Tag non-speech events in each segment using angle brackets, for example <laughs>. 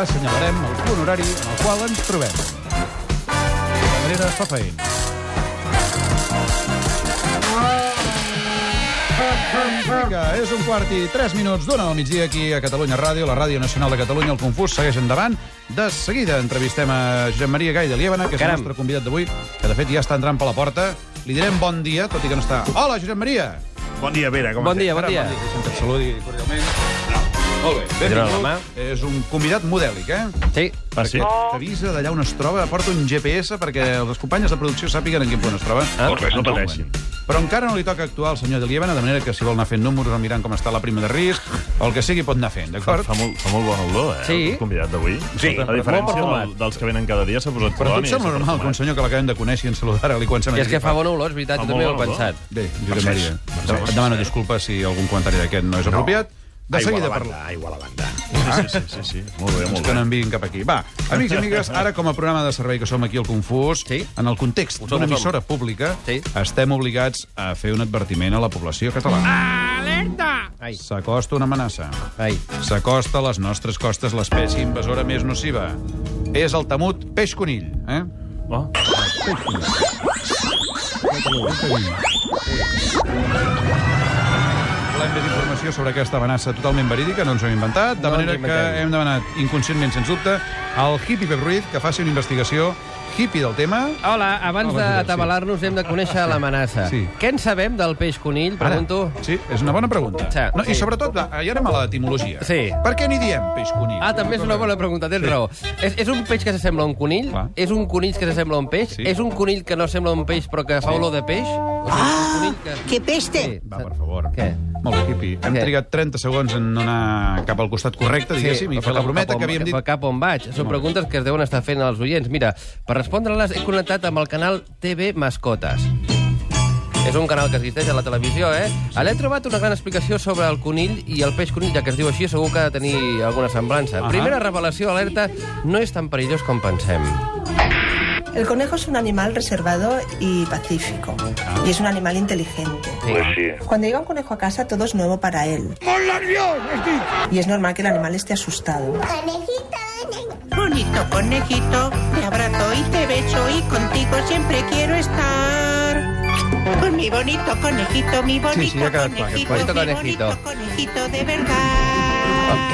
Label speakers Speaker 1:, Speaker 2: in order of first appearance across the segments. Speaker 1: assenyalarem el punt horari en el qual ens trobem. Cabrera Fafaín. Vinga, és un quart i tres minuts d'una al migdia aquí a Catalunya Ràdio, la Ràdio Nacional de Catalunya, el Confús segueix endavant. De seguida entrevistem a Josep Maria Gai de Liebana, que és el
Speaker 2: Caram.
Speaker 1: nostre convidat d'avui, que de fet ja està entrant per la porta. Li direm bon dia, tot i que no està. Hola, Josep Maria!
Speaker 3: Bon dia, Vera, com
Speaker 2: Bon
Speaker 3: estem?
Speaker 2: dia, bon dia.
Speaker 1: Ara, Deixa'm que et saludi cordialment. Molt bé,
Speaker 2: Tindrà la mà.
Speaker 1: benvingut. És un convidat modèlic, eh?
Speaker 2: Sí.
Speaker 3: Ah, sí?
Speaker 1: T'avisa d'allà on es troba, porta un GPS perquè les companyes de producció sàpiguen en quin punt es troba.
Speaker 2: Ah.
Speaker 3: Doncs res, no pateixin.
Speaker 1: Però encara no li toca actuar al senyor de Liebana, de manera que si vol anar fent números, anar mirant com està la prima de risc, o el que sigui pot anar fent, d'acord?
Speaker 4: Fa molt, fa molt bona olor, eh?
Speaker 2: Sí.
Speaker 4: El convidat d'avui.
Speaker 3: Sí.
Speaker 4: A
Speaker 2: Molt
Speaker 4: diferència
Speaker 2: perfumat.
Speaker 4: del, dels que venen cada dia, s'ha posat
Speaker 1: Però a tu
Speaker 4: colònia.
Speaker 1: et sembla normal que un senyor que l'acabem de conèixer i ens saludarà-li quan se
Speaker 2: I és que fa bona olor, és veritat,
Speaker 4: Fa
Speaker 2: jo també ho he
Speaker 4: molt bona
Speaker 2: pensat.
Speaker 1: Bé, Josep Maria, et demano disculpes si algun comentari d'aquest no és apropiat. De seguida parlem.
Speaker 3: Aigua a la banda.
Speaker 4: Sí, sí, sí, sí. Molt bé,
Speaker 1: Doncs
Speaker 4: molt
Speaker 1: que
Speaker 4: bé.
Speaker 1: no enviïn cap aquí. Va, amics i amigues, ara com a programa de servei que som aquí al Confús,
Speaker 2: Sí.
Speaker 1: en el context
Speaker 2: som,
Speaker 1: d'una
Speaker 2: ho som.
Speaker 1: emissora pública,
Speaker 2: Sí.
Speaker 1: estem obligats a fer un advertiment a la població catalana.
Speaker 2: Ai,
Speaker 1: S'acosta una amenaça.
Speaker 2: ai.
Speaker 1: S'acosta a les nostres costes l'espècie invasora més nociva. És el temut peix conill, eh?
Speaker 4: Oh.
Speaker 1: Volem més informació sobre aquesta amenaça totalment verídica, no ens ho hem inventat, de
Speaker 2: No ens
Speaker 1: manera
Speaker 2: ho
Speaker 1: que
Speaker 2: inventem.
Speaker 1: hem demanat inconscientment, sens dubte, al hippie Pep Ruiz que faci una investigació hippie del tema.
Speaker 2: Hola, abans
Speaker 1: Hola, Josep,
Speaker 2: d'atabalar-nos hem de conèixer l'amenaça.
Speaker 1: Sí.
Speaker 2: Què en sabem del peix conill, pregunto?
Speaker 1: Sí, és una bona pregunta.
Speaker 2: Sí.
Speaker 1: No, I sobretot, va, i ara amb l'etimologia.
Speaker 2: Sí.
Speaker 1: Per què n'hi diem peix conill?
Speaker 2: Ah, també és una bona pregunta, tens raó. És, és un peix que s'assembla a un conill?
Speaker 1: Clar.
Speaker 2: És un conill que s'assembla a un peix?
Speaker 1: Sí.
Speaker 2: És un conill que no sembla un peix però que fa olor de peix? O sigui, és un conill que...
Speaker 5: ¡Qué peste!
Speaker 2: Sí.
Speaker 1: Va, per favor.
Speaker 2: Què?
Speaker 1: Molt bé, hippie. Hem
Speaker 2: Què?
Speaker 1: trigat 30 segons en anar cap al costat correcte, diguéssim, i fer la brometa
Speaker 2: cap on-
Speaker 1: que havíem dit.
Speaker 2: Cap on vaig. Són preguntes que es deuen estar fent els oients. Mira, per respondre-les he connectat amb el canal TV Mascotes. És un canal que existeix a la televisió, eh? Allà he trobat una gran explicació sobre el conill i el peix conill, ja que es diu així, segur que ha de tenir alguna semblança.
Speaker 1: Ahà.
Speaker 2: Primera revelació, alerta, no és tan perillós com pensem.
Speaker 6: El conejo es un animal reservado y pacífico. Y es un animal inteligente. Cuando llega un conejo a casa, todo es nuevo para él. Y es normal que el animal esté asustado.
Speaker 5: Bonito conejito, te abrazo y te beso y contigo siempre quiero estar. Con mi bonito conejito, mi
Speaker 1: sí,
Speaker 5: bonito
Speaker 1: ya queda claro,
Speaker 5: conejito,
Speaker 2: bonito
Speaker 5: mi
Speaker 2: conejito.
Speaker 5: bonito conejito de verdad.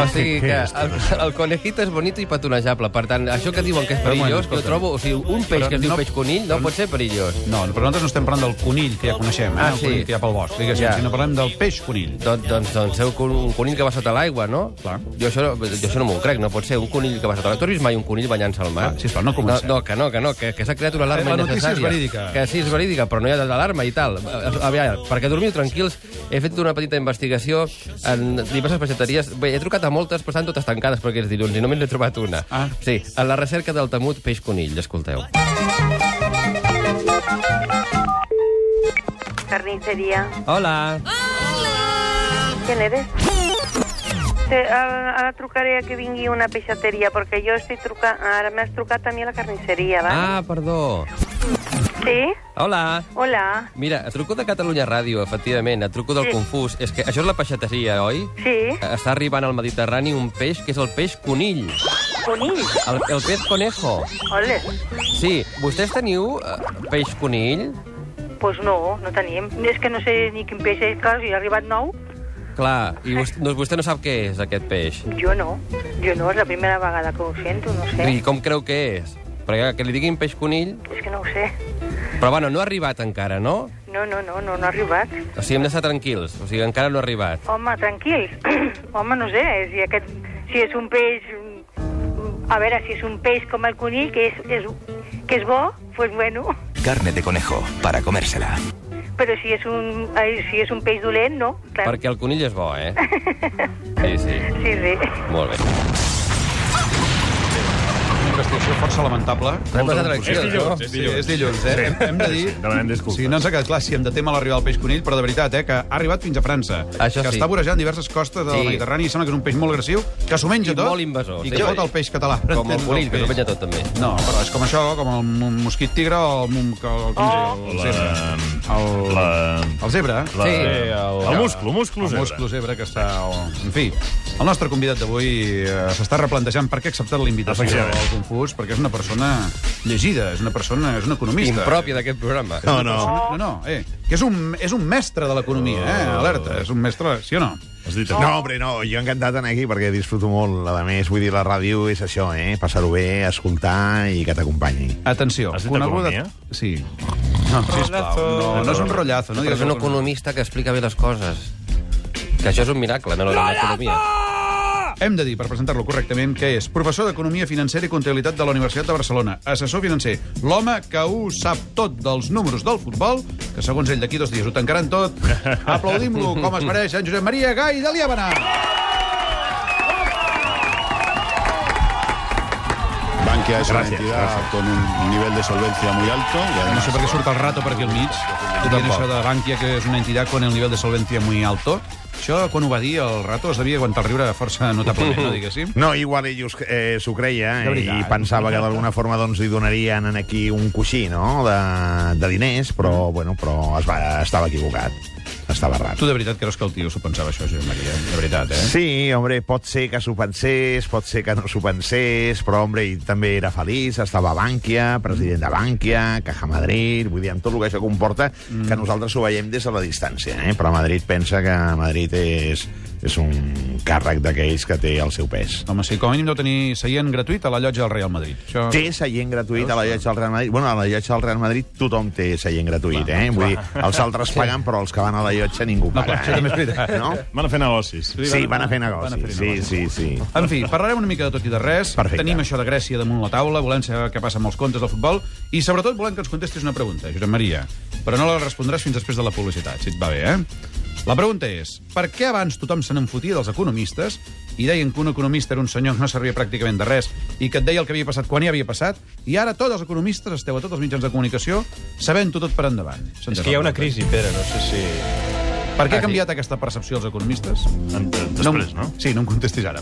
Speaker 2: O sigui que el, el conejito és bonito i petonejable. Per tant, això que diuen que és
Speaker 1: Però un moment,
Speaker 2: perillós, que jo
Speaker 1: escolta.
Speaker 2: trobo... O sigui, un peix
Speaker 1: Però
Speaker 2: que es diu
Speaker 1: no-
Speaker 2: peix conill no pot ser perillós.
Speaker 1: No, però nosaltres no estem parlant del conill que ja coneixem, eh?
Speaker 2: Ah,
Speaker 1: el
Speaker 2: sí.
Speaker 1: conill que hi ha pel bosc, diguéssim,
Speaker 2: Ja.
Speaker 1: ja. sinó parlem del peix conill.
Speaker 2: Doncs, doncs, doncs ser un con- un conill que va sota l'aigua, no?
Speaker 1: Clar.
Speaker 2: Jo això, no- jo això no m'ho crec, no pot ser un conill que va sota l'aigua. Tu has vist mai un conill banyant-se al mar?
Speaker 1: Ah, sisplau, no comencem.
Speaker 2: No, no, que no, que no, que, que s'ha creat una alarma
Speaker 1: Eh, la notícia
Speaker 2: innecessària.
Speaker 1: és verídica.
Speaker 2: Que sí, és verídica, però no hi ha d'alarma i tal. Eh, Aviam, perquè dormiu tranquils, he fet una petita investigació en diverses peixateries. Bé, he trucat a moltes, però estan totes tancades perquè és dilluns i només n'he trobat una.
Speaker 1: Ah.
Speaker 2: Sí, en la recerca del temut peix conill, escolteu.
Speaker 7: Carnicería.
Speaker 2: Hola.
Speaker 7: ¿Quién eres? Te, ara, ara trucaré a que vingui una peixateria, perquè jo estic trucant... Ara m'has trucat a mi a la carnisseria, va?
Speaker 2: Ah, perdó.
Speaker 7: Sí?
Speaker 2: Hola.
Speaker 7: Hola.
Speaker 2: Mira, et truco de Catalunya Ràdio, efectivament, et truco del
Speaker 7: Sí.
Speaker 2: Confús. És que això és la peixateria, oi?
Speaker 7: Sí?
Speaker 2: Està arribant al Mediterrani un peix que és el peix conill,
Speaker 7: Conill.
Speaker 2: el, el peix conejo.
Speaker 7: Ole.
Speaker 2: Sí, vostès teniu eh, peix conill?
Speaker 7: Pues no, no tenim. És que no sé ni quin peix és, clar, si ha arribat nou.
Speaker 2: Clar, i vostè, doncs vostè no sap què és aquest peix.
Speaker 7: Jo no. Jo no, és la primera vegada que ho sento, no sé.
Speaker 2: I com creu que és? Perquè que li diguin peix conill...
Speaker 7: És que no ho sé.
Speaker 2: Però bueno, no ha arribat encara, no?
Speaker 7: No, no, no, no, no ha arribat.
Speaker 2: O sigui, hem d'estar tranquils, o sigui, encara no ha arribat.
Speaker 7: Home, tranquils. <clears throat> Home, no sé, si, aquest, si és un peix... A veure, si és un peix com el conill, que és, és, que és bo, doncs pues bueno. <laughs>
Speaker 8: Carne de conejo para comérsela.
Speaker 7: Però si és un, ai, si és un peix dolent, no. Clar.
Speaker 2: Perquè el conill és bo, eh? Sí, sí,
Speaker 7: Sí, sí.
Speaker 2: molt bé.
Speaker 1: Una investigació força lamentable.
Speaker 2: Hem
Speaker 4: Molta
Speaker 2: passat
Speaker 4: confusió.
Speaker 2: tranquils, no?
Speaker 1: Sí, és dilluns, eh? Hem, hem de dir...
Speaker 4: Oh, Sí, demanem disculpes.
Speaker 1: Sí, no ens ha quedat clar si hem de tema l'arribada del peix conill, però de veritat, eh, que ha arribat fins a França.
Speaker 2: Això
Speaker 1: que
Speaker 2: sí.
Speaker 1: està vorejant diverses costes del
Speaker 2: Sí.
Speaker 1: Mediterrani i sembla que és un peix molt agressiu, que s'ho menja
Speaker 2: I
Speaker 1: tot.
Speaker 2: molt invasor,
Speaker 1: I
Speaker 2: sí.
Speaker 1: que fot el peix català.
Speaker 2: Com el conill, que s'ho menja tot, també.
Speaker 1: No, però és com això, com el mu- mosquit tigre o el... mum- que- el, com es diu? el,
Speaker 4: Oh. La...
Speaker 1: el,
Speaker 4: La...
Speaker 1: el, el zebra.
Speaker 4: La...
Speaker 2: Sí.
Speaker 4: El musclo, el musclo
Speaker 1: El
Speaker 4: zebra.
Speaker 1: musclo zebra que està... al- oh, En fi, El nostre convidat d'avui eh, s'està replantejant per què ha acceptat la invitació
Speaker 4: Efectivament.
Speaker 1: al Confús, perquè és una persona llegida, és una persona, és un economista.
Speaker 2: Impròpia d'aquest programa.
Speaker 4: No, no.
Speaker 1: No, no, eh, que és un, és un mestre de l'economia, eh,
Speaker 4: Oh.
Speaker 1: alerta, és un mestre, sí o no?
Speaker 4: Has dit
Speaker 1: Oh.
Speaker 3: No, hombre, no, jo encantat d'anar aquí perquè disfruto molt. A més, vull dir, la ràdio és això, eh? Passar-ho bé, escoltar i que t'acompanyi.
Speaker 1: Atenció,
Speaker 4: Has dit economia?
Speaker 1: Sí. No, sisplau, no, no és un rotllazo. No
Speaker 2: Però
Speaker 1: digues
Speaker 2: és un
Speaker 1: economia.
Speaker 2: economista que explica bé les coses. Que això és un miracle, no l'economia.
Speaker 1: Hem de dir, per presentar-lo correctament, que és professor d'Economia Financera i Comptabilitat de la Universitat de Barcelona, assessor financer, l'home que ho sap tot dels números del futbol, que segons ell d'aquí dos dies ho tancaran <laughs> tot. Aplaudim-lo com es mereix en Josep Maria Gai de Liabana.
Speaker 9: Bankia es una
Speaker 4: Gracias,
Speaker 9: entidad con un nivel de solvencia muy alto y
Speaker 1: No
Speaker 9: además
Speaker 1: sé per què surt el rato per aquí al mig. Dient això de Bankia, que és una entitat con el nivell de solvencia muy alto. Això, quan ho va dir, el rato es devia aguantar el riure força notablement, no diguéssim?
Speaker 3: No, igual ell us- eh, s'ho creia
Speaker 1: De
Speaker 3: eh,
Speaker 1: veritat.
Speaker 3: i pensava que d'alguna forma doncs, li donarien en aquí un coixí no? de, de diners,
Speaker 1: Mm.
Speaker 3: però, bueno, però es va, estava equivocat. Estava
Speaker 1: <laughs>
Speaker 3: errat.
Speaker 1: Tu de veritat creus que el tio s'ho pensava això, Josep Maria? De veritat, eh?
Speaker 3: Sí, hombre, pot ser que s'ho pensés, pot ser que no s'ho pensés, però, hombre, ell també era feliç, estava a Bànquia, president de Bànquia, Caja Madrid, vull dir, amb tot el que això comporta,
Speaker 1: Mm.
Speaker 3: que nosaltres ho veiem des de la distància, eh? però Madrid pensa que Madrid és, és un càrrec d'aquells que té el seu pes.
Speaker 1: Home, sí, com a mínim deu tenir seient gratuït a la llotja del Real Madrid. Això...
Speaker 3: Té seient gratuït a la lletja del Real Madrid. Bueno, a la lletja del Real Madrid tothom té seient gratuït, eh? Vull dir, els altres paguen, però els que van a la lletja ningú
Speaker 1: clar,
Speaker 3: paga.
Speaker 1: això també és
Speaker 3: eh?
Speaker 1: veritat.
Speaker 3: No?
Speaker 4: Van a fer negocis.
Speaker 3: Sí, van a fer
Speaker 1: Van a fer
Speaker 3: negocis. Sí, sí, sí.
Speaker 1: En fi, parlarem una mica de tot i de res.
Speaker 3: Perfecte.
Speaker 1: Tenim això de Grècia damunt la taula, volem saber què passa amb els comptes del futbol i, sobretot, volem que ens contestis una pregunta, Josep Maria. Però no la respondràs fins després de la publicitat, si et va bé, eh? La pregunta és, per què abans tothom se n'enfotia dels economistes i deien que un economista era un senyor que no servia pràcticament de res i que et deia el que havia passat quan ja havia passat i ara tots els economistes esteu a tots els mitjans de comunicació sabent-ho tot per endavant?
Speaker 10: És que hi ha una crisi, Ah, Pere, no sé si...
Speaker 1: Per què ha canviat aquesta percepció dels economistes?
Speaker 4: En- Després, no?
Speaker 1: Sí, no em contestis ara.